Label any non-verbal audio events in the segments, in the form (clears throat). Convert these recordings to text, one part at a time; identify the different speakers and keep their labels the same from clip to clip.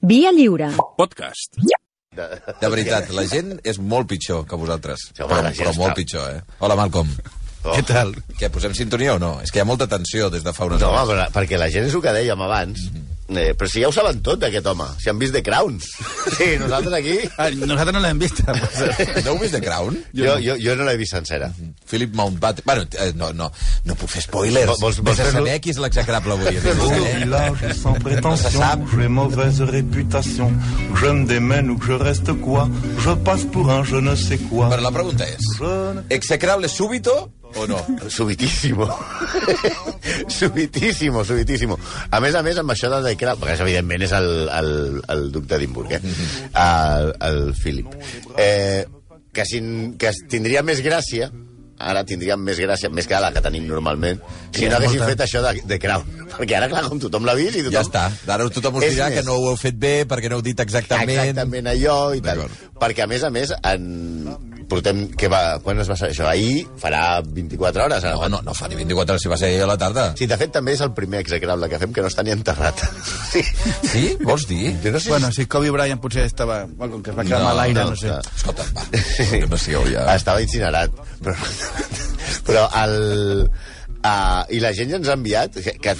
Speaker 1: Via lliure.
Speaker 2: Podcast.
Speaker 3: De veritat, la gent és molt pitjor que vosaltres.
Speaker 4: Sí, home,
Speaker 3: però,
Speaker 4: la gent
Speaker 3: però
Speaker 4: està-
Speaker 3: molt pitjor, eh? Hola, Malcolm.
Speaker 4: Oh.
Speaker 3: Què tal? Què, posem sintonia o no? És que hi ha molta tensió des de fa Mhm. unes
Speaker 4: No, home,
Speaker 3: hores.
Speaker 4: però, perquè la gent és el que dèiem abans. Eh, però si ja ho saben tot, d'aquest home. Si han vist The
Speaker 3: (laughs)
Speaker 4: Crown. Sí, nosaltres aquí...
Speaker 5: Ah, Nosaltres no l'hem (laughs) vist.
Speaker 3: No heu vist The Crown? Mhm.
Speaker 4: Jo, jo, jo no l'he vist sencera.
Speaker 3: Philip Mountbatten... Bueno, eh, no, no, no puc fer spoilers.
Speaker 4: Vols- vols- vols
Speaker 3: Vés a
Speaker 4: fer-lo?
Speaker 3: saber qui és l'execrable avui.
Speaker 4: (laughs)
Speaker 6: Au
Speaker 3: Eh?
Speaker 6: village sans prétention,
Speaker 3: Ça sape.
Speaker 6: j'ai mauvaise réputation. Que je me démène ou que je reste quoi Je passe pour un je ne sais quoi.
Speaker 3: Però la pregunta és,
Speaker 6: Je ne-
Speaker 3: execrable súbito o no?
Speaker 4: (laughs) Subitíssimo. subitíssimo, subitíssimo. A més a més, amb això de The Crown... Perquè, és, evidentment, és el, el, el duc d'Edimburg, eh? El, el Philip. Eh, que, si, que tindria més gràcia ara tindríem més gràcia, més que la que tenim normalment, si no haguessin fet això de, de Crown. (laughs) Perquè ara, clar, com tothom l'ha vist i tothom...
Speaker 3: Ja està. Ara tothom us
Speaker 4: És
Speaker 3: dirà
Speaker 4: més.
Speaker 3: que no ho heu fet bé, perquè no heu dit exactament...
Speaker 4: Exactament allò i tal.
Speaker 3: D'acord.
Speaker 4: Perquè, a més a més, en... portem... Que va... Quan es va ser això? Ahir farà 24 hores. Ara.
Speaker 3: No, no, no fa ni 24 hores, si va ser ahir a la tarda.
Speaker 4: Sí, de fet, també és el primer execrable que fem que no està ni
Speaker 3: (laughs)
Speaker 4: enterrat. Sí.
Speaker 3: Sí? Vols dir?
Speaker 4: Jo no sé
Speaker 5: bueno,
Speaker 4: si...
Speaker 5: si Kobe Bryant potser estava... Bueno, com que es va quedar
Speaker 3: No,
Speaker 5: no, mal aire,
Speaker 4: no,
Speaker 5: no, no sé.
Speaker 4: no.
Speaker 3: Escolta, va. Que No sigueu ja...
Speaker 4: Estava incinerat. Però, (laughs) però el... Uh, I la gent ja ens ha enviat que, que,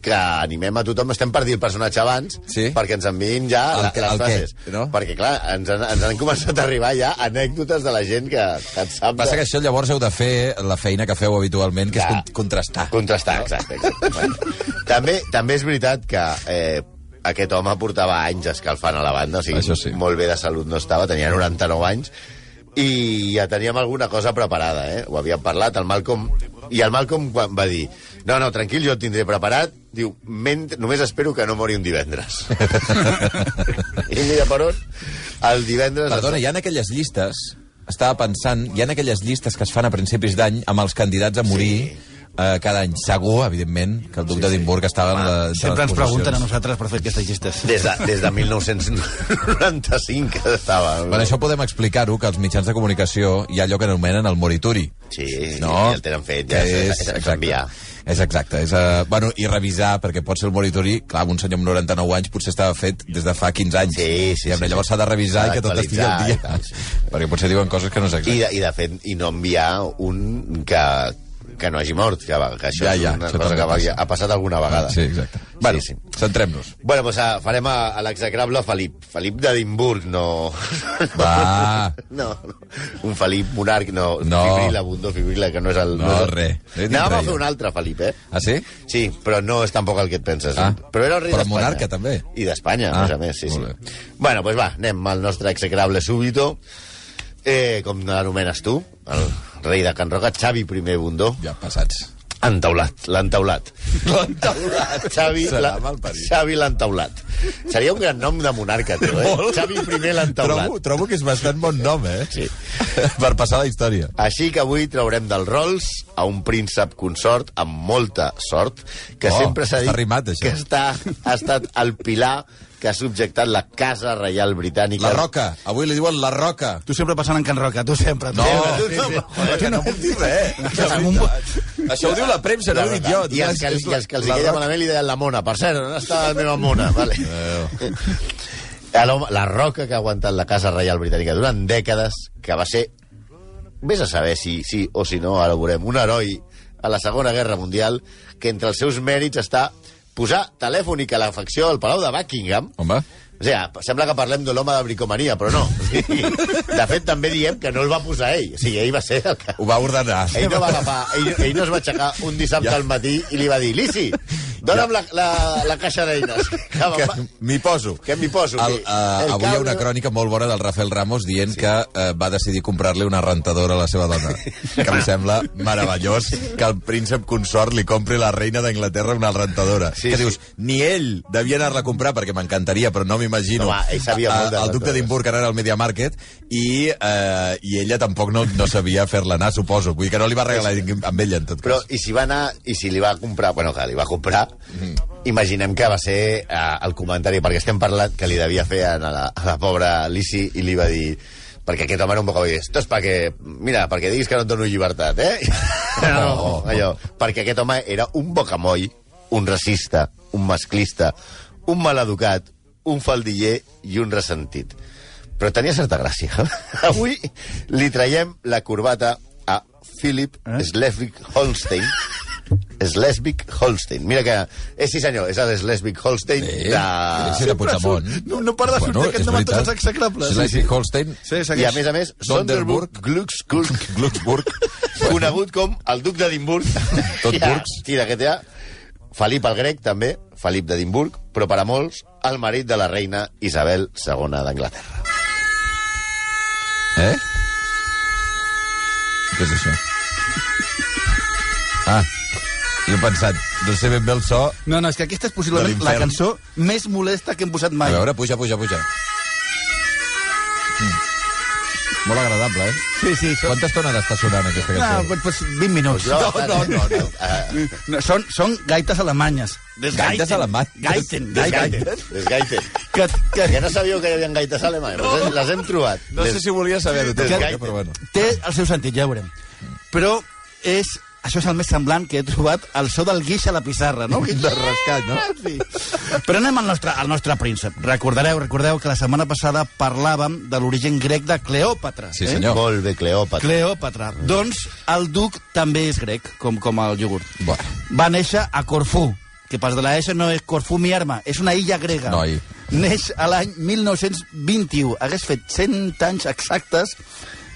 Speaker 4: que animem a tothom, estem per dir el personatge abans,
Speaker 3: Sí.
Speaker 4: perquè ens enviïn ja
Speaker 3: El
Speaker 4: la,
Speaker 3: que-
Speaker 4: les
Speaker 3: el què,
Speaker 4: frases.
Speaker 3: no?
Speaker 4: Perquè, clar, ens han, ens han començat a arribar ja anècdotes de la gent que, que et sap...
Speaker 3: Passa
Speaker 4: de-
Speaker 3: que això llavors heu de fer la feina que feu habitualment, que és
Speaker 4: Clar.
Speaker 3: con- contrastar.
Speaker 4: Contrastar, exacte. exacte. Bueno. també, també és veritat que eh, aquest home portava anys escalfant a la banda, o sigui,
Speaker 3: Això sí.
Speaker 4: molt bé de salut no estava, tenia 99 anys, i ja teníem alguna cosa preparada, eh? Ho havíem parlat, el Malcolm... I el Malcolm quan va dir, no, no, tranquil, jo el tindré preparat, diu, mentre, només espero que no mori un divendres. I mira per on, el divendres...
Speaker 3: (laughs) Perdona, hi ha aquelles llistes, estava pensant, hi ha aquelles llistes que es fan a principis d'any amb els candidats a morir eh, cada any. Segur, evidentment, que el duc d'Edimburg estava en la... entre
Speaker 5: Sempre
Speaker 3: les
Speaker 5: ens pregunten a
Speaker 3: posicions.
Speaker 5: nosaltres per fer aquestes llistes.
Speaker 4: Des de, des de 1995 que estava...
Speaker 3: Per això podem explicar-ho, que els mitjans de comunicació hi ha allò que anomenen el morituri.
Speaker 4: Sí,
Speaker 3: no?
Speaker 4: ja el tenen fet, ja
Speaker 3: Que és,
Speaker 4: és- és
Speaker 3: exacte.
Speaker 4: enviar.
Speaker 3: És exacte. És, uh, bueno, I revisar, perquè pot ser el morituri... Clar, un senyor amb 99 anys potser estava fet des de fa 15 anys.
Speaker 4: Sí, sí,
Speaker 3: Diguem-ne,
Speaker 4: sí, sí.
Speaker 3: Llavors s'ha de revisar
Speaker 4: S'ha
Speaker 3: i que tot estigui al
Speaker 4: d'actualitzar
Speaker 3: dia.
Speaker 4: i tal, sí.
Speaker 3: (laughs) Perquè potser diuen coses que no és
Speaker 4: I
Speaker 3: exacte.
Speaker 4: de, I de fet, i no enviar un que, que no hagi mort, que, va- que això
Speaker 3: Ja,
Speaker 4: ja,
Speaker 3: ja,
Speaker 4: ja, és una
Speaker 3: això
Speaker 4: cosa
Speaker 3: també
Speaker 4: que va,
Speaker 3: passa.
Speaker 4: ha passat alguna vegada.
Speaker 3: Sí, exacte. Bueno, sí, sí. centrem-nos.
Speaker 4: Bueno, doncs ah, farem a, a l'execrable Felip. Felip d'Edimburg, no...
Speaker 3: Va.
Speaker 4: (laughs) No, no. Un Felip monarc, no.
Speaker 3: No.
Speaker 4: Fibril, abundó, fibril, que no és el...
Speaker 3: No,
Speaker 4: és el...
Speaker 3: res. No he dit
Speaker 4: Anàvem
Speaker 3: res,
Speaker 4: a fer
Speaker 3: jo.
Speaker 4: un altre Felip, eh?
Speaker 3: Ah, sí?
Speaker 4: Sí, però no és tampoc el que et penses.
Speaker 3: Ah.
Speaker 4: Però era el rei
Speaker 3: Però
Speaker 4: d'Espanya.
Speaker 3: monarca, també.
Speaker 4: I d'Espanya,
Speaker 3: Ah,
Speaker 4: a més a més, sí,
Speaker 3: molt bé.
Speaker 4: sí. Bueno, doncs va, anem al nostre execrable súbito. Eh, com l'anomenes tu, el rei de Can Roca, Xavi I Bundó.
Speaker 3: Ja passats.
Speaker 4: Entaulat, l'entaulat.
Speaker 3: L'entaulat.
Speaker 4: (laughs) Xavi
Speaker 3: Serà
Speaker 4: la-
Speaker 3: malparit.
Speaker 4: Xavi l'entaulat. Seria un gran nom de monarca, teu,
Speaker 3: (laughs)
Speaker 4: eh? Xavi I l'entaulat.
Speaker 3: Trobo, trobo que és bastant bon nom, eh?
Speaker 4: Sí.
Speaker 3: (laughs) per passar a la història.
Speaker 4: Així que avui traurem del Rolls a un príncep consort amb molta sort, que
Speaker 3: Oh,
Speaker 4: sempre s'ha dit
Speaker 3: està rimat, això.
Speaker 4: que està, ha estat el pilar que ha subjectat la Casa Reial Britànica.
Speaker 3: La Roca. Avui li diuen La Roca.
Speaker 5: Tu sempre passant en Can Roca, tu sempre. Tu.
Speaker 3: No,
Speaker 5: Sempre,
Speaker 3: sí,
Speaker 5: tu,
Speaker 3: sí.
Speaker 5: tu,
Speaker 3: Joder, que no puc dir res.
Speaker 5: Amb un...
Speaker 3: Això ho diu la premsa, no ho dic jo.
Speaker 4: I els que, i els que els hi
Speaker 3: La
Speaker 4: queia
Speaker 3: Roca.
Speaker 4: malament li deien la mona. Per cert, on està la meva mona? (laughs) Vale. A l'home- La roca que ha aguantat la Casa Reial Britànica durant dècades, que va ser, vés a saber si sí o si no, ara ho veurem, un heroi a la Segona Guerra Mundial, que entre els seus mèrits està posar telèfon i calefacció al Palau de Buckingham,
Speaker 3: Home,
Speaker 4: o sigui, sembla que parlem de l'home de bricomania, però no. (laughs) O sigui, de fet, també diem que no el va posar ell. O sigui, ell va ser el que...
Speaker 3: ho va ordenar.
Speaker 4: Ell no va agafar, ell, ell no es va aixecar un dissabte
Speaker 3: Ja.
Speaker 4: ja. al matí i li va dir, Lisi, dona'm ja. la, la, la caixa d'eines. (laughs) Que,
Speaker 3: que
Speaker 4: me'n va-
Speaker 3: m'hi poso.
Speaker 4: que m'hi poso,
Speaker 3: El,
Speaker 4: sí.
Speaker 3: uh,
Speaker 4: El
Speaker 3: avui hi ha
Speaker 4: cabra-
Speaker 3: una crònica molt bona del Rafael Ramos dient sí. que uh, va decidir comprar-li una rentadora a la seva dona. que em sembla meravellós que el príncep consort li compri a la reina d'Anglaterra una rentadora.
Speaker 4: Sí,
Speaker 3: que
Speaker 4: sí.
Speaker 3: dius, ni ell devia anar-la a comprar, perquè m'encantaria, però no m'imagino.
Speaker 4: No, va, ell sabia molt de
Speaker 3: El duc
Speaker 4: rentadores.
Speaker 3: d'Edimburg ara era al Media Market i, uh, i ella tampoc no, no sabia fer-la anar, suposo. Vull dir que no li va regalar amb ella, en tot cas.
Speaker 4: Però, i si va anar, i si li va comprar, bueno, que li va comprar,
Speaker 3: Mm-hmm.
Speaker 4: mm. imaginem que va ser eh, el comentari, perquè estem parlant que li devia fer a la, a la pobra Lisi i li va dir perquè aquest home era un poc avui, esto és perquè, mira, perquè diguis que no et dono llibertat,
Speaker 3: (laughs)
Speaker 4: eh? No, allò, perquè aquest home era un bocamoll, un racista, un masclista, un maleducat, un faldiller i un ressentit. Però tenia certa gràcia. (laughs) Avui li traiem la corbata a Philip eh?
Speaker 5: Eh?
Speaker 4: Slesvig (laughs) Holstein. Slesvig Holstein. Mira que... Eh, sí, senyor, és el Slesvig Holstein
Speaker 3: Eh,
Speaker 4: de...
Speaker 3: sí, de Puigdemont.
Speaker 5: surt- no- no para de sortir aquest nom a tots els execrables.
Speaker 3: Schleswig Holstein,
Speaker 5: Sí,
Speaker 4: I a més a més, Sonderburg,
Speaker 3: Sonderburg,
Speaker 4: Glücksburg, (laughs)
Speaker 3: Glücksburg,
Speaker 4: conegut com el duc (laughs) d'Edimburg.
Speaker 3: Tot
Speaker 4: Hi ha-
Speaker 3: burgs.
Speaker 4: Tira, que té a Felip el grec, també, Felip d'Edimburg, però per a molts, el marit de la reina Isabel II d'Anglaterra.
Speaker 3: Eh? Què és això? Ah, jo he pensat, no sé ben bé el so.
Speaker 5: No, no, és que aquesta és
Speaker 3: De
Speaker 5: possiblement la
Speaker 3: l'infern.
Speaker 5: cançó més molesta que hem posat
Speaker 3: A
Speaker 5: mai.
Speaker 3: veure, puja, puja, puja. Mm. Molt agradable, eh?
Speaker 5: Sí, sí, són...
Speaker 3: Quanta estona ha d'estar sonant aquesta
Speaker 5: No,
Speaker 3: cançó?
Speaker 5: doncs, doncs 20 minuts.
Speaker 4: no, no. no. Uh,
Speaker 5: No, són, són gaites alemanyes.
Speaker 3: Gaites alemanyes.
Speaker 5: Gaiten, gaiten.
Speaker 4: desgaiten, desgaiten.
Speaker 5: Que, que,
Speaker 4: Que no sabíeu que hi havia gaites alemanyes, les, hem- les hem trobat.
Speaker 3: No sé si volia saber-ho, tot,
Speaker 4: Desgaite.
Speaker 3: però bueno.
Speaker 5: té el seu sentit, ja ho veurem. Però és... Això és el més semblant que he trobat al so del guix a la pissarra, no? Ah,
Speaker 3: De rascat, no?
Speaker 5: Sí. Però anem al nostre, al nostre príncep. Recordareu, recordeu que la setmana passada parlàvem de l'origen grec de Cleòpatra. eh?
Speaker 3: Sí, senyor.
Speaker 4: Molt bé, Cleòpatra.
Speaker 5: Cleòpatra. Doncs el duc també és grec, com, com el iogurt.
Speaker 3: Bueno.
Speaker 5: Va néixer a Corfú, que pas de la S no és Corfú mi arma, és una illa grega.
Speaker 3: Noi.
Speaker 5: Neix a l'any 1921. Hagués fet 100 anys exactes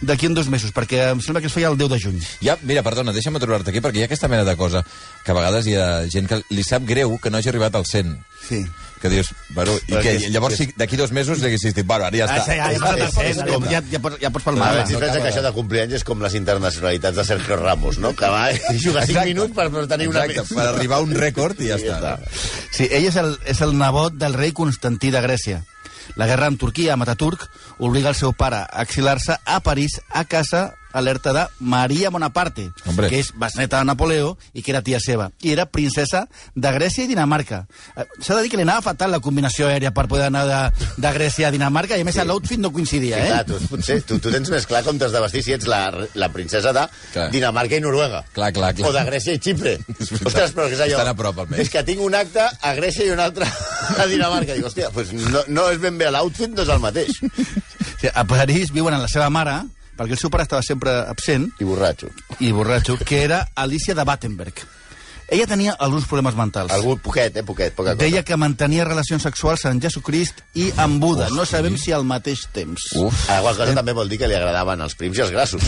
Speaker 5: d'aquí en dos mesos, perquè em sembla que es feia el 10 de juny.
Speaker 3: Ja, mira, perdona, deixa'm aturar-te aquí, perquè hi ha aquesta mena de cosa que a vegades hi ha gent que li sap greu que no hagi arribat al 100.
Speaker 5: Sí.
Speaker 3: Que dius, bueno, i
Speaker 4: Però
Speaker 3: què?
Speaker 4: és-
Speaker 3: I llavors, si d'aquí dos mesos li haguessis dit, bueno, ara ja
Speaker 5: Ah,
Speaker 3: està.
Speaker 4: ja, ja, ja, ja, ja,
Speaker 5: ja, ja, pots, ja pots
Speaker 4: A
Speaker 5: palmar.
Speaker 4: veure,
Speaker 5: va.
Speaker 4: si es pensa que això de complir anys és com les internacionalitats de Sergio Ramos, no? Que va i juga 5
Speaker 3: Exacte.
Speaker 4: minuts per tenir una
Speaker 3: Exacte,
Speaker 4: més.
Speaker 3: per arribar a un rècord i ja
Speaker 4: I ja
Speaker 3: està.
Speaker 4: està.
Speaker 5: Sí, ell és el, és el nebot del rei Constantí de Grècia. La guerra amb Turquia, amb Ataturk, obliga el seu pare a exilar-se a París, a casa, alerta de Maria Bonaparte,
Speaker 3: Hombre.
Speaker 5: que és besneta de Napoleó i que era tia seva. I era princesa de Grècia i Dinamarca. Eh, S'ha de dir que li anava fatal la combinació aèria per poder anar de, de Grècia a Dinamarca i a més sí. l'outfit no coincidia,
Speaker 4: Sí,
Speaker 5: eh?
Speaker 4: clar, tu, potser, tu, tu tens més clar com t'has de vestir si ets la, la princesa de clar.
Speaker 3: Clar.
Speaker 4: Dinamarca i Noruega.
Speaker 3: Clar, clar, clar.
Speaker 4: O de Grècia i
Speaker 3: (laughs)
Speaker 4: Xipre.
Speaker 3: veritat.
Speaker 4: Ostres, però què és allò?
Speaker 3: Estan a prop, almenys.
Speaker 4: És que tinc un acte a Grècia i un altre a Dinamarca. Dic, hòstia, pues no, no és ben bé l'outfit, no és el mateix.
Speaker 5: Sí, a París viuen amb la seva mare, perquè el seu pare estava sempre absent,
Speaker 4: I borratxo.
Speaker 5: i borratxo, que era Alicia de Battenberg. Ella tenia alguns problemes mentals.
Speaker 4: Algú, poquet, eh, poquet, poca cosa.
Speaker 5: Deia que mantenia relacions sexuals amb Jesucrist i amb Buda. No sabem si al mateix temps.
Speaker 3: Uf.
Speaker 4: Alguna Ah, cosa també vol dir que li agradaven els prims i els
Speaker 3: (laughs)
Speaker 4: grassos.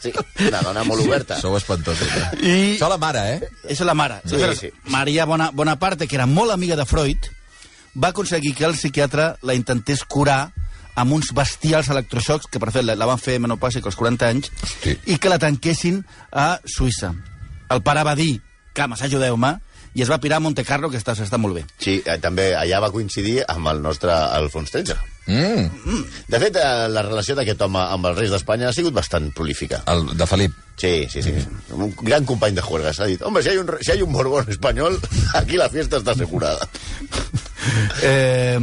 Speaker 4: sí, una dona molt oberta.
Speaker 3: Sou espantosos. Eh?
Speaker 5: I
Speaker 3: Això la mare, eh?
Speaker 5: és la mare.
Speaker 4: Sí,
Speaker 5: Aleshores,
Speaker 4: sí.
Speaker 5: Maria Bona, Bonaparte, que era molt amiga de Freud, va aconseguir que el psiquiatre la intentés curar amb uns bestials electroxocs, que per fet la, la van fer menopàsica als 40 anys,
Speaker 3: Hosti.
Speaker 5: i que la tanquessin a Suïssa. El pare va dir, cames, ajudeu-me, i es va pirar a Monte Carlo, que està, està molt bé.
Speaker 4: Sí, eh, també allà va coincidir amb el nostre Alfons XIII.
Speaker 3: Mm,
Speaker 4: De fet, eh, la relació d'aquest home amb els reis d'Espanya ha sigut bastant prolífica.
Speaker 3: el de Felip.
Speaker 4: Sí, sí, sí. Un gran company de juergas. Ha dit, home, si hay un, si hay un borbón espanyol, (laughs) aquí la fiesta està assegurada.
Speaker 5: Eh,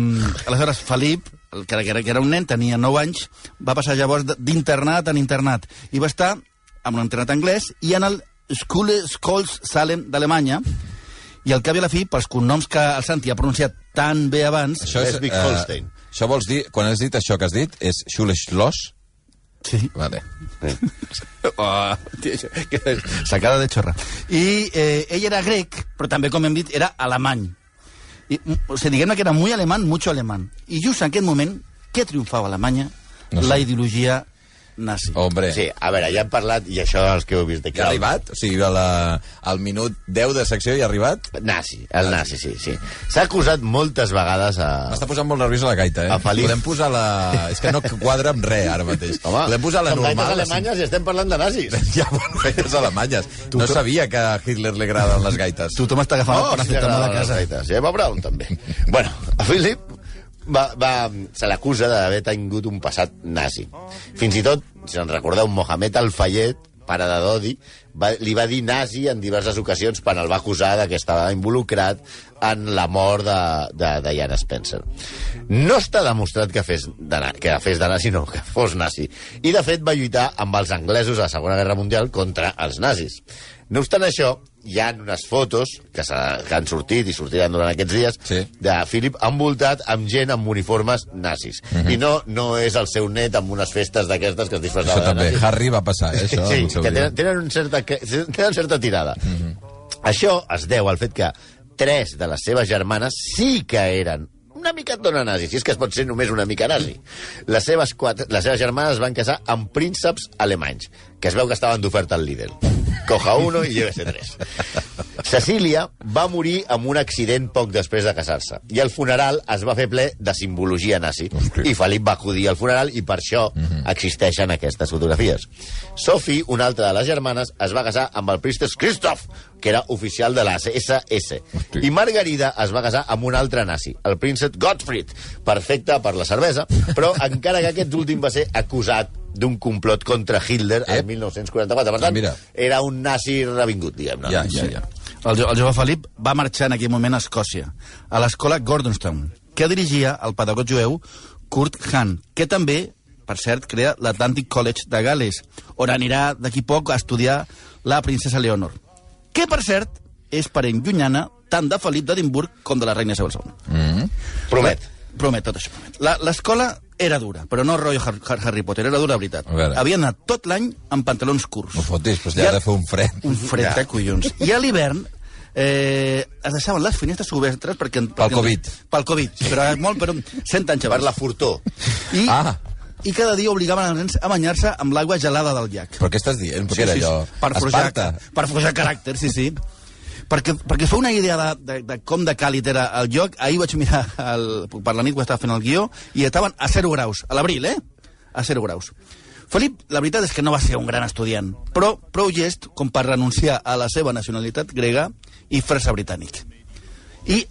Speaker 5: aleshores, Felip, el que era, que era un nen, tenia 9 anys, va passar llavors de- d'internat en internat i va estar en un internat anglès i en el School Scholes Salem d'Alemanya i al cap i a la fi, pels cognoms que el Santi ha pronunciat tan bé abans...
Speaker 4: Schleswig
Speaker 3: eh,
Speaker 4: Holstein.
Speaker 3: això vols dir, quan has dit això que has dit, és Schulesloss?
Speaker 5: Sí.
Speaker 3: Vale.
Speaker 5: Oh, tia, això, que és sacada de xorra. I eh, ell era grec, però també, com hem dit, era alemany. I, mm, o sigui, diguem que era muy alemán, mucho alemán. I just en aquest moment, què triomfava a Alemanya?
Speaker 3: No
Speaker 5: No
Speaker 3: sé.
Speaker 5: sé. La ideologia nazi. Oh.
Speaker 3: Hombre.
Speaker 4: Sí, a veure, ja hem parlat, i això els que heu vist de
Speaker 3: Ja ha arribat? O sigui, a la, al minut 10 de secció hi ha arribat?
Speaker 4: Nazi, el
Speaker 3: Ah,
Speaker 4: nazi, sí, sí. S'ha acusat moltes vegades a...
Speaker 3: M'està posant molt nerviosa la gaita, eh?
Speaker 4: A Felip.
Speaker 3: Podem posar la... És que no quadra amb res, ara mateix. Podem posar la
Speaker 4: som gaites
Speaker 3: normal. la cinc-
Speaker 4: alemanyes i estem parlant de nazis.
Speaker 3: (laughs) Ja, bueno, gaites alemanyes. No sabia que a Hitler li agraden les gaites.
Speaker 5: Tothom està agafant oh, el
Speaker 4: si li
Speaker 5: paracetamol a
Speaker 4: agraden
Speaker 5: casa.
Speaker 4: les gaites. I a Bob Brown, també. bueno, a Philip va, va, se l'acusa d'haver tingut un passat nazi. Fins i tot, si en recordeu, Mohamed Al-Fayed, pare de Dodi, va, li va dir nazi en diverses ocasions quan el va acusar de que estava involucrat en la mort de, de Diana Spencer. No està demostrat que fes de, na- que fes de nazi, no, que fos nazi. I, de fet, va lluitar amb els anglesos a la Segona Guerra Mundial contra els nazis. No obstant això, hi ha unes fotos que, s'ha- que han sortit i sortiran durant aquests dies
Speaker 3: Sí.
Speaker 4: de Philip envoltat amb gent amb uniformes nazis.
Speaker 3: Mhm.
Speaker 4: I no, no és el seu net amb unes festes d'aquestes que es disfressava
Speaker 3: Això
Speaker 4: de
Speaker 3: també.
Speaker 4: nazi.
Speaker 3: Harry va passar, eh, això.
Speaker 4: Sí,
Speaker 3: en el seu
Speaker 4: que
Speaker 3: dia.
Speaker 4: tenen, tenen, un certa, que tenen certa tirada. Això es deu al fet que tres de les seves germanes sí que eren una mica dona nazi, si és que es pot ser només una mica nazi. Les seves, quatre, les seves germanes es van casar amb prínceps alemanys, que es veu que estaven d'oferta al Lidl. Coja uno i llévese tres. Cecília va morir amb un accident poc després de casar-se, i el funeral es va fer ple de simbologia nazi. I Felip va acudir al funeral i per això
Speaker 3: Mhm.
Speaker 4: existeixen aquestes fotografies. Sophie, una altra de les germanes, es va casar amb el príncep Christoph, que era oficial de la SS.
Speaker 3: Hosti.
Speaker 4: I Margarida es va casar amb un altre nazi, el príncep Gottfried, perfecte per la cervesa,
Speaker 3: (laughs)
Speaker 4: però encara que aquest últim va ser acusat d'un complot contra Hitler el
Speaker 3: Ep.
Speaker 4: 1944. Per
Speaker 3: Eh? Ah,
Speaker 4: tant,
Speaker 3: mira.
Speaker 4: era un nazi revingut, diguem-ne.
Speaker 3: Ja, ja, ja.
Speaker 5: El, jo- el jove Felip va marxar en aquell moment a Escòcia, a l'escola Gordonstown, que dirigia el pedagog jueu Kurt Hahn, que també, per cert, crea l'Atlantic College de Gales, on anirà d'aquí poc a estudiar la princesa Leonor, que, per cert, és parent llunyana tant de Felip d'Edimburg com de la reina Isabel II.
Speaker 4: Promet.
Speaker 5: Promet, tot això. promet. La- L'escola era dura, però no rotllo Har- Har- Harry Potter, era dura, de veritat.
Speaker 3: A veure.
Speaker 5: Havia anat tot l'any amb pantalons curts.
Speaker 3: No fotis, però ja ha de fer un fred.
Speaker 5: Un fred de collons. I a l'hivern eh, es deixaven les finestres obertes perquè... perquè-
Speaker 3: Covid.
Speaker 5: Pel Covid, però és molt, però 100 anys
Speaker 4: Per
Speaker 5: abans.
Speaker 4: la
Speaker 3: (laughs)
Speaker 4: furtó.
Speaker 5: I,
Speaker 3: Ah.
Speaker 5: I cada dia obligaven els nens a banyar-se amb l'aigua gelada del llac.
Speaker 3: Però què estàs dient? Però què era allò?
Speaker 5: Per forjar,
Speaker 3: Esparta?
Speaker 5: per forjar caràcter, sí, sí. Perquè, perquè fa una idea de, de, de com de càlid era el lloc, ahir vaig mirar el, per la nit que estava fent el guió i estaven a 0 graus, a l'abril, eh? A 0 graus. Felip, la veritat és que no va ser un gran estudiant, però prou gest com per renunciar a la seva nacionalitat grega i fer-se britànic. I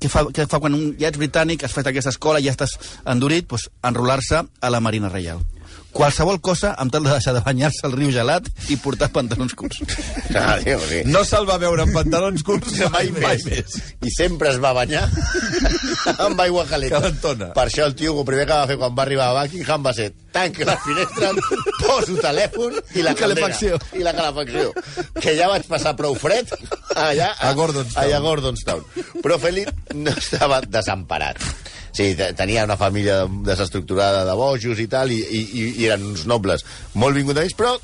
Speaker 5: què fa, què fa quan un, ja ets britànic, has fet aquesta escola, ja estàs endurit, doncs, enrolar-se a la Marina Reial. Qualsevol cosa amb tal de deixar de banyar-se al riu gelat i portar pantalons curts.
Speaker 4: Adéu, sí.
Speaker 3: No se'l va veure amb pantalons curts
Speaker 4: mai, més. I sempre es va banyar (laughs) amb aigua calenta.
Speaker 3: Calentona.
Speaker 4: Per això el tio, el primer que va fer quan va arribar a Buckingham va ser tanca la finestra, poso telèfon i la caldera.
Speaker 5: Calefacció.
Speaker 4: I la calefacció. Que ja vaig passar prou fred allà
Speaker 3: A Gordonstown.
Speaker 4: Allà a Gordonstown. Però Felip no estava desemparat. Sí, te- tenia una família desestructurada de bojos i tal, i, i, i- i eren uns nobles molt vinguts d'ells, però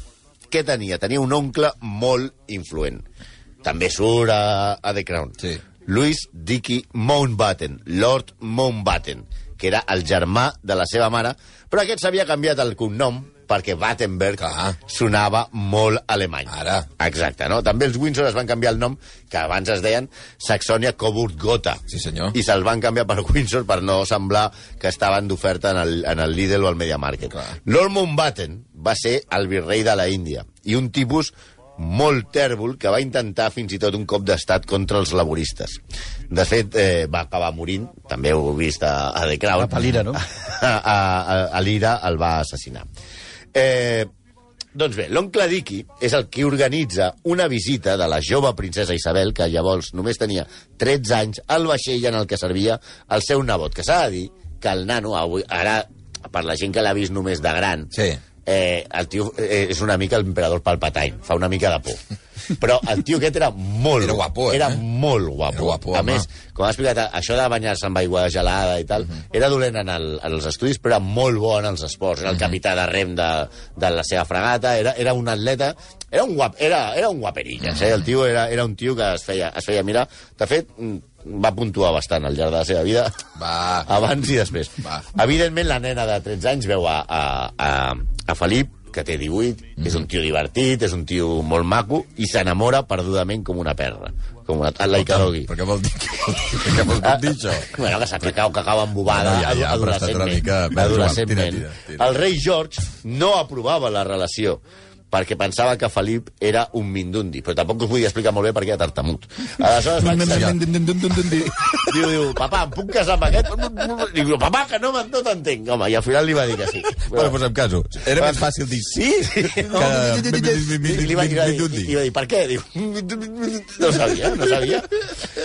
Speaker 4: què tenia? Tenia un oncle molt influent. També surt a, a The Crown.
Speaker 3: Sí.
Speaker 4: Louis Dicky Mountbatten, Lord Mountbatten, que era el germà de la seva mare, però aquest s'havia canviat el cognom perquè Battenberg
Speaker 3: Clar.
Speaker 4: sonava molt alemany.
Speaker 3: Ah. Ara.
Speaker 4: Exacte, no? També els Windsor es van canviar el nom, que abans es deien Saxònia coburg gotha
Speaker 3: Sí, senyor.
Speaker 4: I se'l van canviar per Windsor per no semblar que estaven d'oferta en, el, en el Lidl o el Media Market.
Speaker 3: Clar.
Speaker 4: Lord Mountbatten va ser el virrei de la Índia i un tipus molt tèrbol que va intentar fins i tot un cop d'estat contra els laboristes. De fet, eh, va acabar morint, també ho heu vist a, a The Crown.
Speaker 5: A Palira, no?
Speaker 4: A, (laughs) a, a, a l'Ira el va assassinar. Eh, doncs bé, l'oncle Dicky és el que organitza una visita de la jove princesa Isabel, que llavors només tenia 13 anys, al vaixell en el que servia el seu nebot, que s'ha de dir que el nano, avui, ara, per la gent que l'ha vist només de gran,
Speaker 3: Sí.
Speaker 4: eh, el tio eh, és una mica l'emperador Palpatine, fa una mica de por. Però el tio aquest era molt...
Speaker 3: Era guapo, eh?
Speaker 4: Era molt guapo.
Speaker 3: Era guapo,
Speaker 4: A
Speaker 3: home.
Speaker 4: més, com ha explicat, això de banyar-se amb aigua gelada i tal,
Speaker 3: Mhm.
Speaker 4: era dolent en, el, en els estudis, però era molt bo en els esports.
Speaker 3: Mhm.
Speaker 4: Era el capità de rem de, de la seva fregata, era, era un atleta... Era un, guap, era, era un guaperillas,
Speaker 3: Mhm.
Speaker 4: eh? El tio era, era un tio que es feia, es feia mirar. De fet, mm, va puntuar bastant al llarg de la seva vida,
Speaker 3: Va.
Speaker 4: abans i després.
Speaker 3: Va.
Speaker 4: Evidentment, la nena de 13 anys veu a, a, a, a Felip, que té 18,
Speaker 3: Mhm.
Speaker 4: és un tio divertit, és un tio molt maco, i s'enamora perdudament com una perra, com una tal Laika Doggy.
Speaker 3: Però què vol dir, què vol dir, què vol dir això?
Speaker 4: Ah, Bueno, que s'ha cacau, cacau embobada,
Speaker 3: Bueno, ja, ja, però ha estat una mica- Bé,
Speaker 4: adolescentment.
Speaker 3: Joan,
Speaker 4: adolescentment.
Speaker 3: tira, tira, tira.
Speaker 4: El rei George no aprovava la relació perquè pensava que Felip era un mindundi, però tampoc us vull explicar molt bé perquè era tartamut.
Speaker 3: (laughs)
Speaker 4: Aleshores vaig ser... Diu, diu, papà, em puc casar amb aquest? Diu, papà, que no, no t'entenc. Home, i al final li va dir que sí.
Speaker 3: Bueno, posem caso. Era més fàcil dir sí que...
Speaker 4: I li va, i, li va dir, i li va dir, per què? Diu, no sabia, no sabia.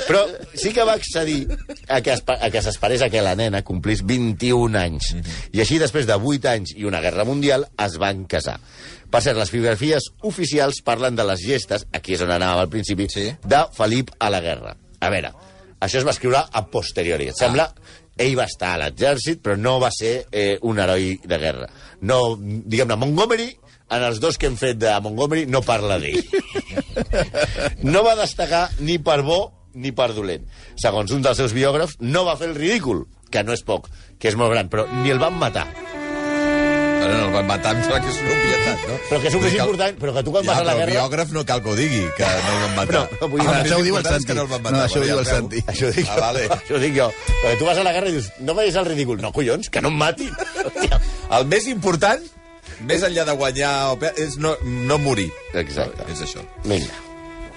Speaker 4: Però sí que va accedir a que, espe- a que s'esperés a que la nena complís 21 anys. I així, després de 8 anys i una guerra mundial, es van casar. Per cert, les biografies oficials parlen de les gestes, aquí és on anàvem al principi,
Speaker 3: Sí.
Speaker 4: de Felip a la guerra. A veure, això es va escriure a posteriori. Et sembla? Ell va estar a l'exèrcit, però no va ser eh, un heroi de guerra. No, diguem-ne, Montgomery, en els dos que hem fet de Montgomery, no parla d'ell. No va destacar ni per bo ni per dolent. Segons un dels seus biògrafs, no va fer el ridícul, que no és poc, que és molt gran, però ni el van matar.
Speaker 3: No, no, el van matar, em sembla que és una obvietat, no?
Speaker 4: Però que és un
Speaker 3: Vull
Speaker 4: més
Speaker 3: dir el-
Speaker 4: important, però que tu quan
Speaker 3: Ja,
Speaker 4: vas a la
Speaker 3: però el
Speaker 4: guerra...
Speaker 3: biògraf no cal que ho digui, que no el van matar.
Speaker 4: No, no vull dir-
Speaker 3: Ah,
Speaker 5: Això ho diu el
Speaker 3: l'important és que
Speaker 5: Santi.
Speaker 3: No, el van matar,
Speaker 5: No, això ho
Speaker 3: Maria,
Speaker 5: diu el
Speaker 3: preu.
Speaker 5: Santi.
Speaker 4: Això ho dic
Speaker 3: Ah,
Speaker 4: jo.
Speaker 3: vale.
Speaker 4: (laughs) Això ho dic jo. Perquè tu vas a la guerra i dius, no veies el ridícul. No, collons, que no em
Speaker 3: (laughs)
Speaker 4: mati. Hòstia.
Speaker 3: El més important, més enllà de guanyar, o pe- és no, no morir.
Speaker 4: Exacte.
Speaker 3: És això.
Speaker 4: Vinga.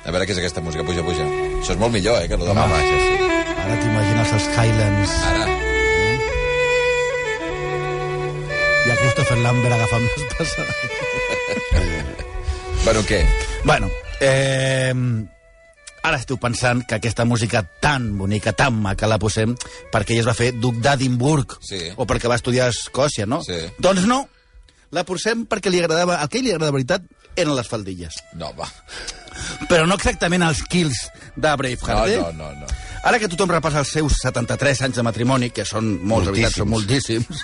Speaker 3: A veure què és aquesta música, puja, puja. Això és molt millor, eh, que el de
Speaker 4: Home,
Speaker 3: Mama.
Speaker 4: això sí.
Speaker 5: Ara t'imagines els Highlands
Speaker 3: Ara.
Speaker 5: i a Christopher Lambert agafant l'espasa.
Speaker 3: Bueno, què?
Speaker 5: Bueno, eh, ara esteu pensant que aquesta música tan bonica, tan maca, la posem perquè ella es va fer duc d'Edimburg
Speaker 3: Sí.
Speaker 5: o perquè va estudiar a Escòcia, no?
Speaker 3: Sí.
Speaker 5: Doncs no, la posem perquè li agradava... El que a ell li agradava de veritat eren les faldilles.
Speaker 3: No, va.
Speaker 5: Però no exactament els kills de
Speaker 3: No,
Speaker 5: Braveheart, eh?
Speaker 3: no, no, no.
Speaker 5: Ara que tothom repassa els seus 73 anys de matrimoni, que són molts, de veritat, són moltíssims.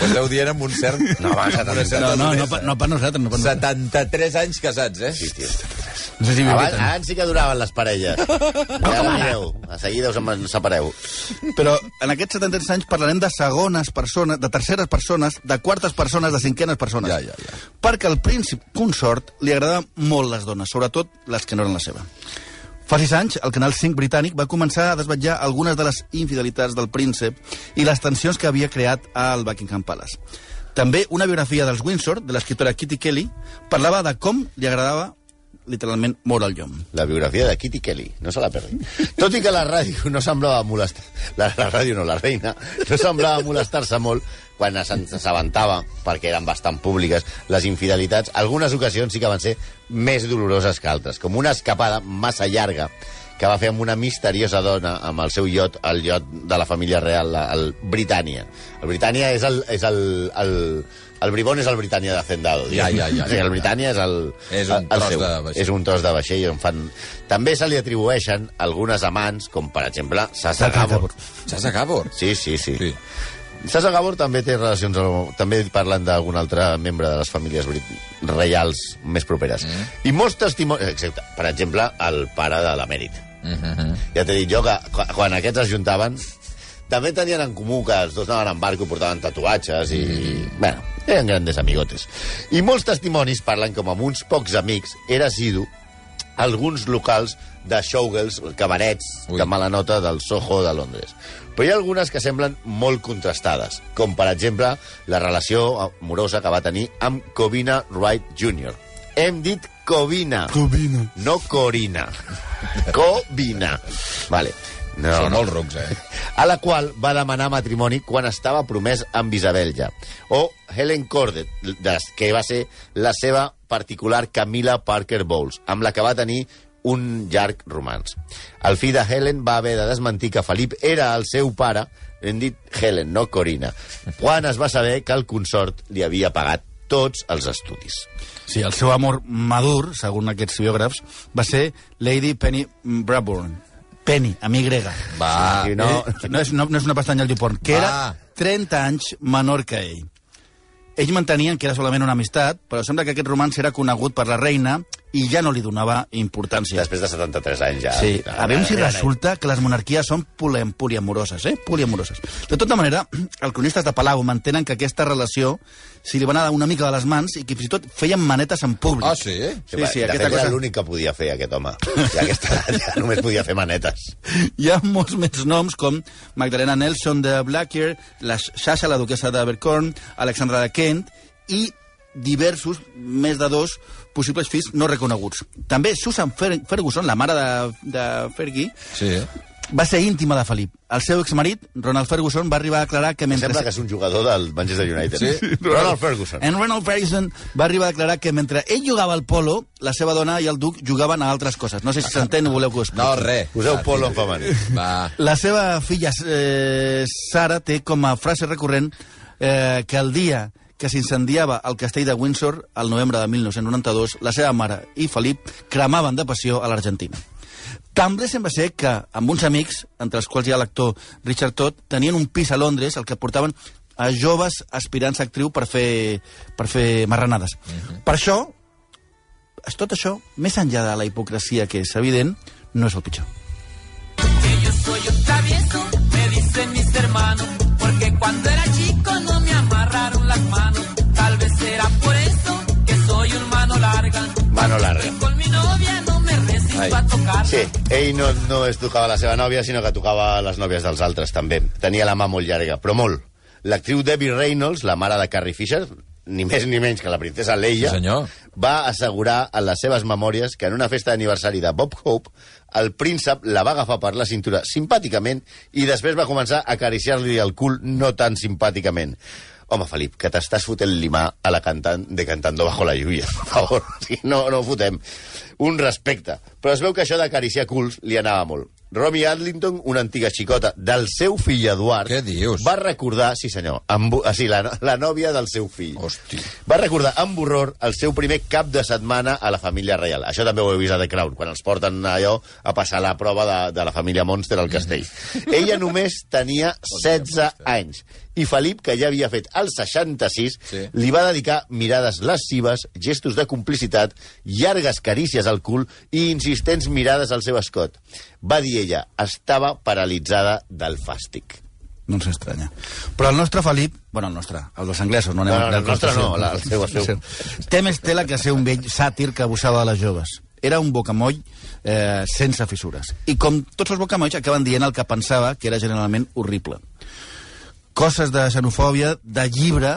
Speaker 3: Ho esteu dient amb un cert...
Speaker 4: No, va,
Speaker 3: Amb una certa
Speaker 5: (laughs) No, no, no,
Speaker 3: duresa.
Speaker 5: per, no per nosaltres, no per nosaltres.
Speaker 3: 73 anys casats, eh? Sí, sí.
Speaker 5: No sé si
Speaker 4: Abans,
Speaker 5: m'imiten.
Speaker 4: abans sí que duraven
Speaker 3: (laughs)
Speaker 4: les parelles. No, ja veureu. A seguida us en separeu.
Speaker 5: Però en aquests 73 anys parlarem de segones persones, de terceres persones, de quartes persones, de cinquenes persones.
Speaker 3: Ja, ja, ja.
Speaker 5: Perquè al príncip consort li agradaven molt les dones, sobretot les que no eren la seva. Fa sis anys, el Canal 5 britànic va començar a desvetllar algunes de les infidelitats del príncep i les tensions que havia creat al Buckingham Palace. També una biografia dels Windsor, de l'escriptora Kitty Kelly, parlava de com li agradava literalment moure el llom.
Speaker 4: La biografia de Kitty Kelly, no se la perdi. Tot i que la ràdio no semblava molestar... La, la ràdio no, la reina, no semblava molestar-se molt quan se'n s'assabentava, perquè eren bastant públiques, les infidelitats. Algunes ocasions sí que van ser més doloroses que altres, com una escapada massa llarga que va fer amb una misteriosa dona amb el seu iot, el iot de la família real, la- el Britània. El Britània és el... És el, el el bribón és el Britània de Hacendado.
Speaker 3: Ja,
Speaker 4: diguem.
Speaker 3: ja, ja,
Speaker 4: O sigui,
Speaker 3: ja.
Speaker 4: el Britània és el,
Speaker 3: És un
Speaker 4: el- el
Speaker 3: tros
Speaker 4: seu.
Speaker 3: de vaixell.
Speaker 4: És un tros de vaixell on fan... També se li atribueixen algunes amants, com per exemple Sasa
Speaker 5: Sasa
Speaker 4: Gabor.
Speaker 5: Gabor.
Speaker 3: Sasa Gabor.
Speaker 4: Sí, sí, sí.
Speaker 3: Sí.
Speaker 4: sí. Sasa Gabor també té relacions... amb- També parlen d'algun altre membre de les famílies brit- reials més properes. Mm. I molts testimonis... Excepte, per exemple, el pare de l'emèrit.
Speaker 3: Mm -hmm.
Speaker 4: Ja t'he dit jo que qu- quan aquests es juntaven també tenien en comú que els dos anaven en barco i portaven tatuatges i... Mm. Bueno, eren grandes amigotes. I molts testimonis parlen com amb uns pocs amics era assidu a alguns locals de showgirls, cabarets
Speaker 3: Ui.
Speaker 4: Ui. de mala nota del Soho de Londres. Però hi ha algunes que semblen molt contrastades, com per exemple la relació amorosa que va tenir amb Covina Wright Jr. Hem dit Covina.
Speaker 5: Covina.
Speaker 4: No Corina. Covina. Vale. No,
Speaker 3: Són
Speaker 4: no.
Speaker 3: molt rucs, eh?
Speaker 4: A la qual va demanar matrimoni quan estava promès amb Isabel ja. O Helen Cordet, des- que va ser la seva particular Camila Parker Bowles, amb la que va tenir un llarg romans. El fill de Helen va haver de desmentir que Felip era el seu pare, hem dit Helen, no Corina, quan es va saber que el consort li havia pagat tots els estudis.
Speaker 5: Sí, el seu amor madur, segons aquests biògrafs, va ser Lady Penny Bradburn. Penny, amb Y.
Speaker 3: Va.
Speaker 4: Sí,
Speaker 5: No,
Speaker 4: no,
Speaker 5: Eh, no, és, no, no és una pestanya al Dupont, que
Speaker 3: Ah.
Speaker 5: era 30 anys menor que ell. Ells mantenien que era solament una amistat, però sembla que aquest romans era conegut per la reina i ja no li donava importància.
Speaker 4: després de 73 anys ja... Ah,
Speaker 5: Sí, a veure si
Speaker 4: Era-
Speaker 5: resulta que les monarquies són polem- poliamoroses, eh? Poliamoroses. De tota manera, (clears throat) els cronistes de Palau mantenen que aquesta relació si li va anar una mica de les mans i que fins i tot feien manetes en públic.
Speaker 3: Ah, sí?
Speaker 5: Sí, sí,
Speaker 4: de
Speaker 5: aquesta
Speaker 4: fet, era
Speaker 5: cosa-
Speaker 4: l'únic que podia fer, aquest home. I aquesta edat ja només podia fer manetes.
Speaker 5: Hi ha molts més noms, com Magdalena Nelson de Blackyer, la Sasha, la duquesa d'Abercorn, Alexandra de Kent i diversos, més de dos, possibles fills no reconeguts. També Susan Fer Ferguson, la mare de, de Fergie,
Speaker 3: Sí.
Speaker 5: va ser íntima de Felip. El seu exmarit, Ronald Ferguson, va arribar a declarar que mentre...
Speaker 4: Sembla que és un jugador del Manchester United.
Speaker 3: Sí.
Speaker 4: Ronald Ferguson.
Speaker 5: En Ronald Ferguson va arribar a declarar que mentre ell jugava al polo, la seva dona i el duc jugaven a altres coses. No sé
Speaker 4: (laughs)
Speaker 5: si s'entén o voleu que ho expliqui.
Speaker 3: No, res.
Speaker 4: Poseu polo en femení.
Speaker 3: Va.
Speaker 5: La seva filla, eh, Sara, té com a frase recurrent eh, que el dia que s'incendiava el castell de Windsor al novembre de 1992, la seva mare i Felip cremaven de passió a l'Argentina. També sembla ser que, amb uns amics, entre els quals hi ha l'actor Richard Todd, tenien un pis a Londres al que portaven a joves aspirants a actriu per fer, per fer marranades. Per això, és tot això, més enllà de la hipocresia que és evident, no és el pitjor.
Speaker 1: que yo soy un travieso, me dicen mis hermanos, porque cuando era chico no me amarraron las manos, tal vez era por eso que soy un mano larga,
Speaker 4: Mano larga.
Speaker 1: con mi novia no me resisto
Speaker 4: Ai.
Speaker 1: a tocar.
Speaker 4: Sí, ell no, no es tocava la seva nòvia, sinó que tocava les nòvies dels altres, també. Tenia la mà molt llarga, però molt. L'actriu Debbie Reynolds, la mare de Carrie Fisher, ni més ni menys que la princesa Leia,
Speaker 3: Sí, senyor.
Speaker 4: va assegurar en les seves memòries que en una festa d'aniversari de Bob Hope el príncep la va agafar per la cintura simpàticament i després va començar a acariciar-li el cul no tan simpàticament. Home, Felip, que t'estàs fotent l'imà a la cantant de Cantando bajo la lluvia, per favor. (laughs) O sigui, No, no ho fotem. Un respecte. Però es veu que això d'acariciar culs li anava molt. Romy Adlington, una antiga xicota del seu fill Eduard...
Speaker 3: Què dius?
Speaker 4: Va recordar, sí senyor, amb, ah, sí, la, no- la nòvia del seu fill.
Speaker 3: Hosti.
Speaker 4: Va recordar amb horror el seu primer cap de setmana a la família reial. Això també ho he vist a The Crown, quan els porten allò a passar la prova de, de la família Monster al castell.
Speaker 3: Mm.
Speaker 4: Ella només
Speaker 3: (laughs)
Speaker 4: tenia 16 anys. I Felip, que ja havia fet el 66,
Speaker 3: Sí.
Speaker 4: li va dedicar mirades lascives, gestos de complicitat, llargues carícies al cul i insistents mirades al seu escot. Va dir ella, estava paralitzada del fàstic.
Speaker 5: No ens estranya. Però el nostre Felip... Bueno, el nostre, el dels anglesos. No, anem
Speaker 4: No, no,
Speaker 5: a-
Speaker 4: el nostre no, la- el seu, el seu.
Speaker 5: (laughs) Té més tela que ser un vell sàtir que abusava de les joves. Era un bocamoll eh, sense fissures. I com tots els bocamolls acaben dient el que pensava, que era generalment horrible. Coses de xenofòbia, de llibre,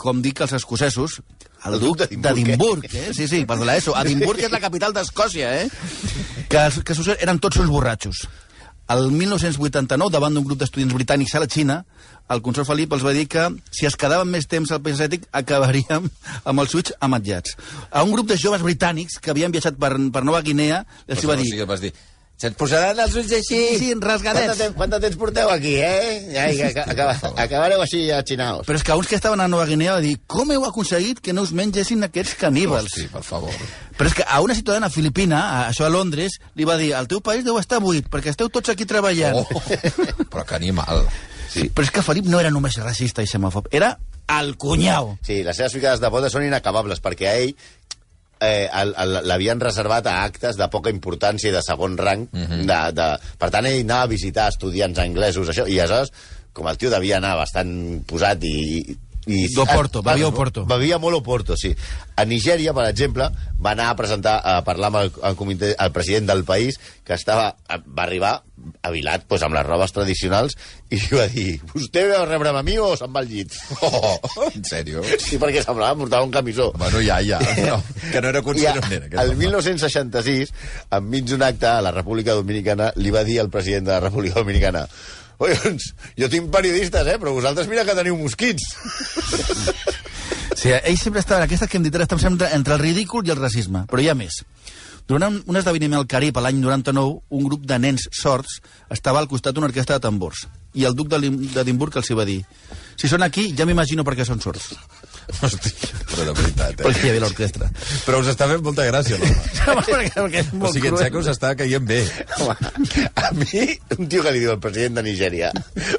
Speaker 5: com dic els escocesos, el
Speaker 4: El duc
Speaker 5: duc
Speaker 4: d'Edimburg,
Speaker 5: d'Edimburg, eh? Sí, sí, per de
Speaker 4: (laughs)
Speaker 5: l'ESO. Edimburg és la capital d'Escòcia, eh? Que, els- que succeï- eren tots uns borratxos. El 1989, davant d'un grup d'estudiants britànics a la Xina, el consol Felip els va dir que si es quedaven més temps al país asiàtic acabaríem amb els ulls ametllats. A un grup de joves britànics que havien viatjat per, per Nova Guinea els hi va
Speaker 3: O
Speaker 5: dir...
Speaker 3: sigui, vas dir... Se't posaran els ulls així!
Speaker 5: Sí, sí,
Speaker 4: Quanta
Speaker 5: rasgadets.
Speaker 4: temps, quanta temps porteu aquí, eh? Ai, que aca- acaba, acabareu així eh, atxinaos.
Speaker 5: Però és que uns que estaven a Nova Guinea va dir com heu aconseguit que no us mengessin aquests caníbals?
Speaker 3: Hosti, per favor.
Speaker 5: Però és que a una ciutadana filipina, a, això a Londres, li va dir el teu país deu estar buit perquè esteu tots aquí treballant.
Speaker 3: Oh, però que animal.
Speaker 5: Sí. Però és que Felip no era només racista i xenòfob, era el cunyau.
Speaker 4: Sí, les seves ficades de boda són inacabables, perquè a ell eh, el- el- l'havien reservat a actes de poca importància i de segon rang. Mm
Speaker 5: Mhm.
Speaker 4: -hmm. de, de... Per tant, ell anava a visitar estudiants anglesos, això, i aleshores, com el tio devia anar bastant posat i... i i,
Speaker 5: D'Oporto, bevia Oporto.
Speaker 4: Bevia molt Oporto, sí. A Nigèria, per exemple, va anar a presentar, a parlar amb el, el, comitè, el president del país, que estava, va arribar avilat pues, amb les robes tradicionals, i li va dir, vostè veu rebre'm a mi o se'n va al llit? (laughs)
Speaker 3: Oh, en sèrio?
Speaker 4: Sí, perquè semblava que portava un camisó.
Speaker 3: Bueno, ja, (laughs) ja. No, que no era conscient on era.
Speaker 4: I
Speaker 3: aquest
Speaker 4: el
Speaker 3: home.
Speaker 4: 1966, enmig d'un acte a la República Dominicana, li va dir al president de la República Dominicana Oions, jo tinc periodistes, eh? Però vosaltres mira que teniu mosquits.
Speaker 5: Sí, ell sempre estava, aquestes que hem dit ara, estan sempre entre el ridícul i el racisme, però hi ha més. Durant un- un esdeveniment al Carib a l'any 99, un grup de nens sords estava al costat d'una orquestra de tambors. I el duc de l'Im- d'Edimburg els hi va dir si són aquí, ja m'imagino per què són sords.
Speaker 3: Hosti, però de veritat,
Speaker 5: Però és que hi
Speaker 3: eh?
Speaker 5: havia l'orquestra.
Speaker 3: Però us està fent molta gràcia, (laughs) l'home.
Speaker 5: perquè, perquè és
Speaker 3: O sigui, en
Speaker 5: cruel.
Speaker 3: Seco us està caient bé.
Speaker 4: Home, a mi, un tio que li diu al president de Nigèria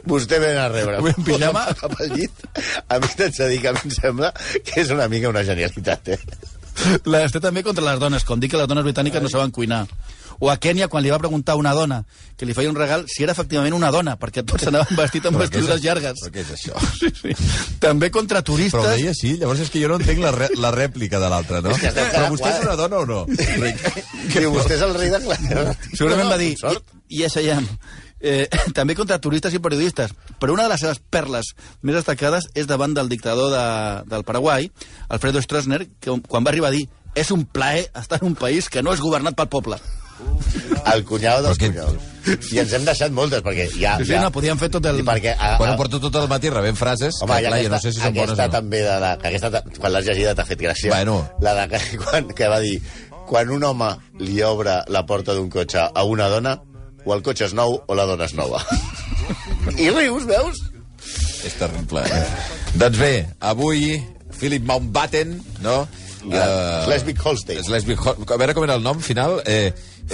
Speaker 4: vostè ven a rebre.
Speaker 3: Avui en pijama?
Speaker 4: (laughs) Cap al llit. A mi t'haig de dir que a mi em sembla que és una mica una genialitat, eh?
Speaker 5: La té també contra les dones, com dir que les dones britàniques no saben cuinar. O a Kènia, quan li va preguntar a una dona que li feia un regal si era efectivament una dona, perquè tots anaven vestit amb
Speaker 3: Però què és
Speaker 5: vestidures
Speaker 3: això?
Speaker 5: llargues.
Speaker 3: Però què és això?
Speaker 5: Sí, sí. També contra
Speaker 3: Però ho
Speaker 5: turistes.
Speaker 3: deia així, llavors és que jo no entenc la, re la rèplica de l'altre, no?
Speaker 4: que es deu
Speaker 3: Però
Speaker 4: quedar
Speaker 3: vostè és
Speaker 4: quadre.
Speaker 3: una dona o no?
Speaker 4: Diu, vostè és el rei d'Anglaterra.
Speaker 5: Segurament va dir,
Speaker 4: amb sort.
Speaker 5: yes I am. Eh, (laughs) també contra turistes i periodistes, però una de les seves perles més destacades és davant del dictador de, del Paraguai, Alfredo Stroessner, que quan va arribar a dir és un plaer estar en un país que no és governat pel poble.
Speaker 4: El cunyau dels
Speaker 3: Però què-
Speaker 4: cunyaus. I ens hem deixat moltes, perquè ja...
Speaker 5: Sí, sí,
Speaker 4: ja...
Speaker 5: no, podíem fer tot el...
Speaker 4: I perquè... A,
Speaker 3: Bueno,
Speaker 4: a-
Speaker 3: porto tot el matí rebent frases
Speaker 4: Home,
Speaker 3: que,
Speaker 4: i
Speaker 3: clar,
Speaker 4: aquesta,
Speaker 3: jo no sé si són bones
Speaker 4: aquesta
Speaker 3: o no.
Speaker 4: també, de la, que aquesta, ta- quan l'has llegida t'ha fet gràcia.
Speaker 3: Bueno.
Speaker 4: La de, que- (laughs) quan, que va dir, quan un home li obre la porta d'un cotxe a una dona, o el cotxe és nou o la dona és
Speaker 3: (laughs)
Speaker 4: nova. I rius, veus?
Speaker 3: És terrible. Eh? Doncs bé, avui Philip Mountbatten, no?
Speaker 4: Gran.
Speaker 3: Eh,
Speaker 4: Schleswig-Holstein.
Speaker 3: Schleswig-Hol- a veure com era el nom final. Eh,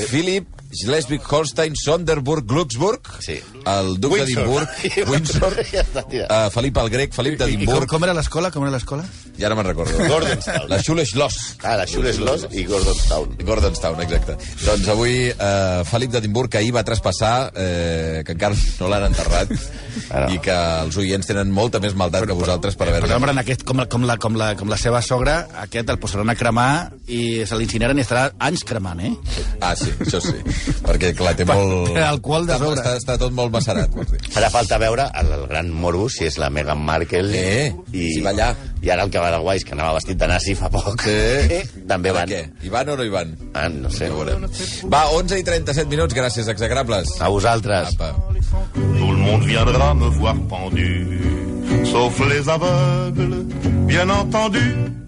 Speaker 3: Philip Schleswig-Holstein, Sonderburg, Luxemburg,
Speaker 4: Sí.
Speaker 3: el duc
Speaker 4: Windsor. (laughs)
Speaker 3: d'Edimburg, Windsor,
Speaker 4: Ja està, tira.
Speaker 3: eh, Felip el Grec, Felip
Speaker 5: I com,
Speaker 3: d'Edimburg,
Speaker 5: com era l'escola? Com era l'escola?
Speaker 3: i ara me'n recordo.
Speaker 4: Gordonstown.
Speaker 3: La Schule Schloss.
Speaker 4: Ah, la Schule Schloss i Gordonstown.
Speaker 3: Gordonstown, exacte. Doncs avui eh, Felip d'Edimburg que ahir va traspassar, eh, que encara no l'han enterrat,
Speaker 4: Ara.
Speaker 3: i que els oients tenen molta més maldat que vosaltres per
Speaker 5: Però,
Speaker 3: haver-lo.
Speaker 5: home, en aquest, com, la- com, la, com, la, com la seva sogra, aquest el posaran a cremar i se l'incineren i estarà anys cremant, eh?
Speaker 3: Ah, sí, això sí. Perquè, clar, té
Speaker 5: Per-
Speaker 3: molt...
Speaker 5: per al qual de
Speaker 3: està,
Speaker 5: sobre.
Speaker 3: està, està tot molt macerat, vols dir.
Speaker 4: Farà falta veure el, el gran morbo, si és la Meghan Markle.
Speaker 3: Eh, si va allà.
Speaker 4: I ara el que va de guai és que anava vestit de nazi fa poc.
Speaker 3: Sí.
Speaker 4: (laughs) També
Speaker 3: Ara
Speaker 4: van.
Speaker 3: Què? Hi van o no hi van?
Speaker 4: Ah, no sé.
Speaker 3: Ja ho veurem. Va, 11 i 37 minuts, gràcies, exagrables.
Speaker 4: A vosaltres.
Speaker 3: Apa.
Speaker 6: Tout le monde viendra me voir pendu, sauf les aveugles, bien entendu.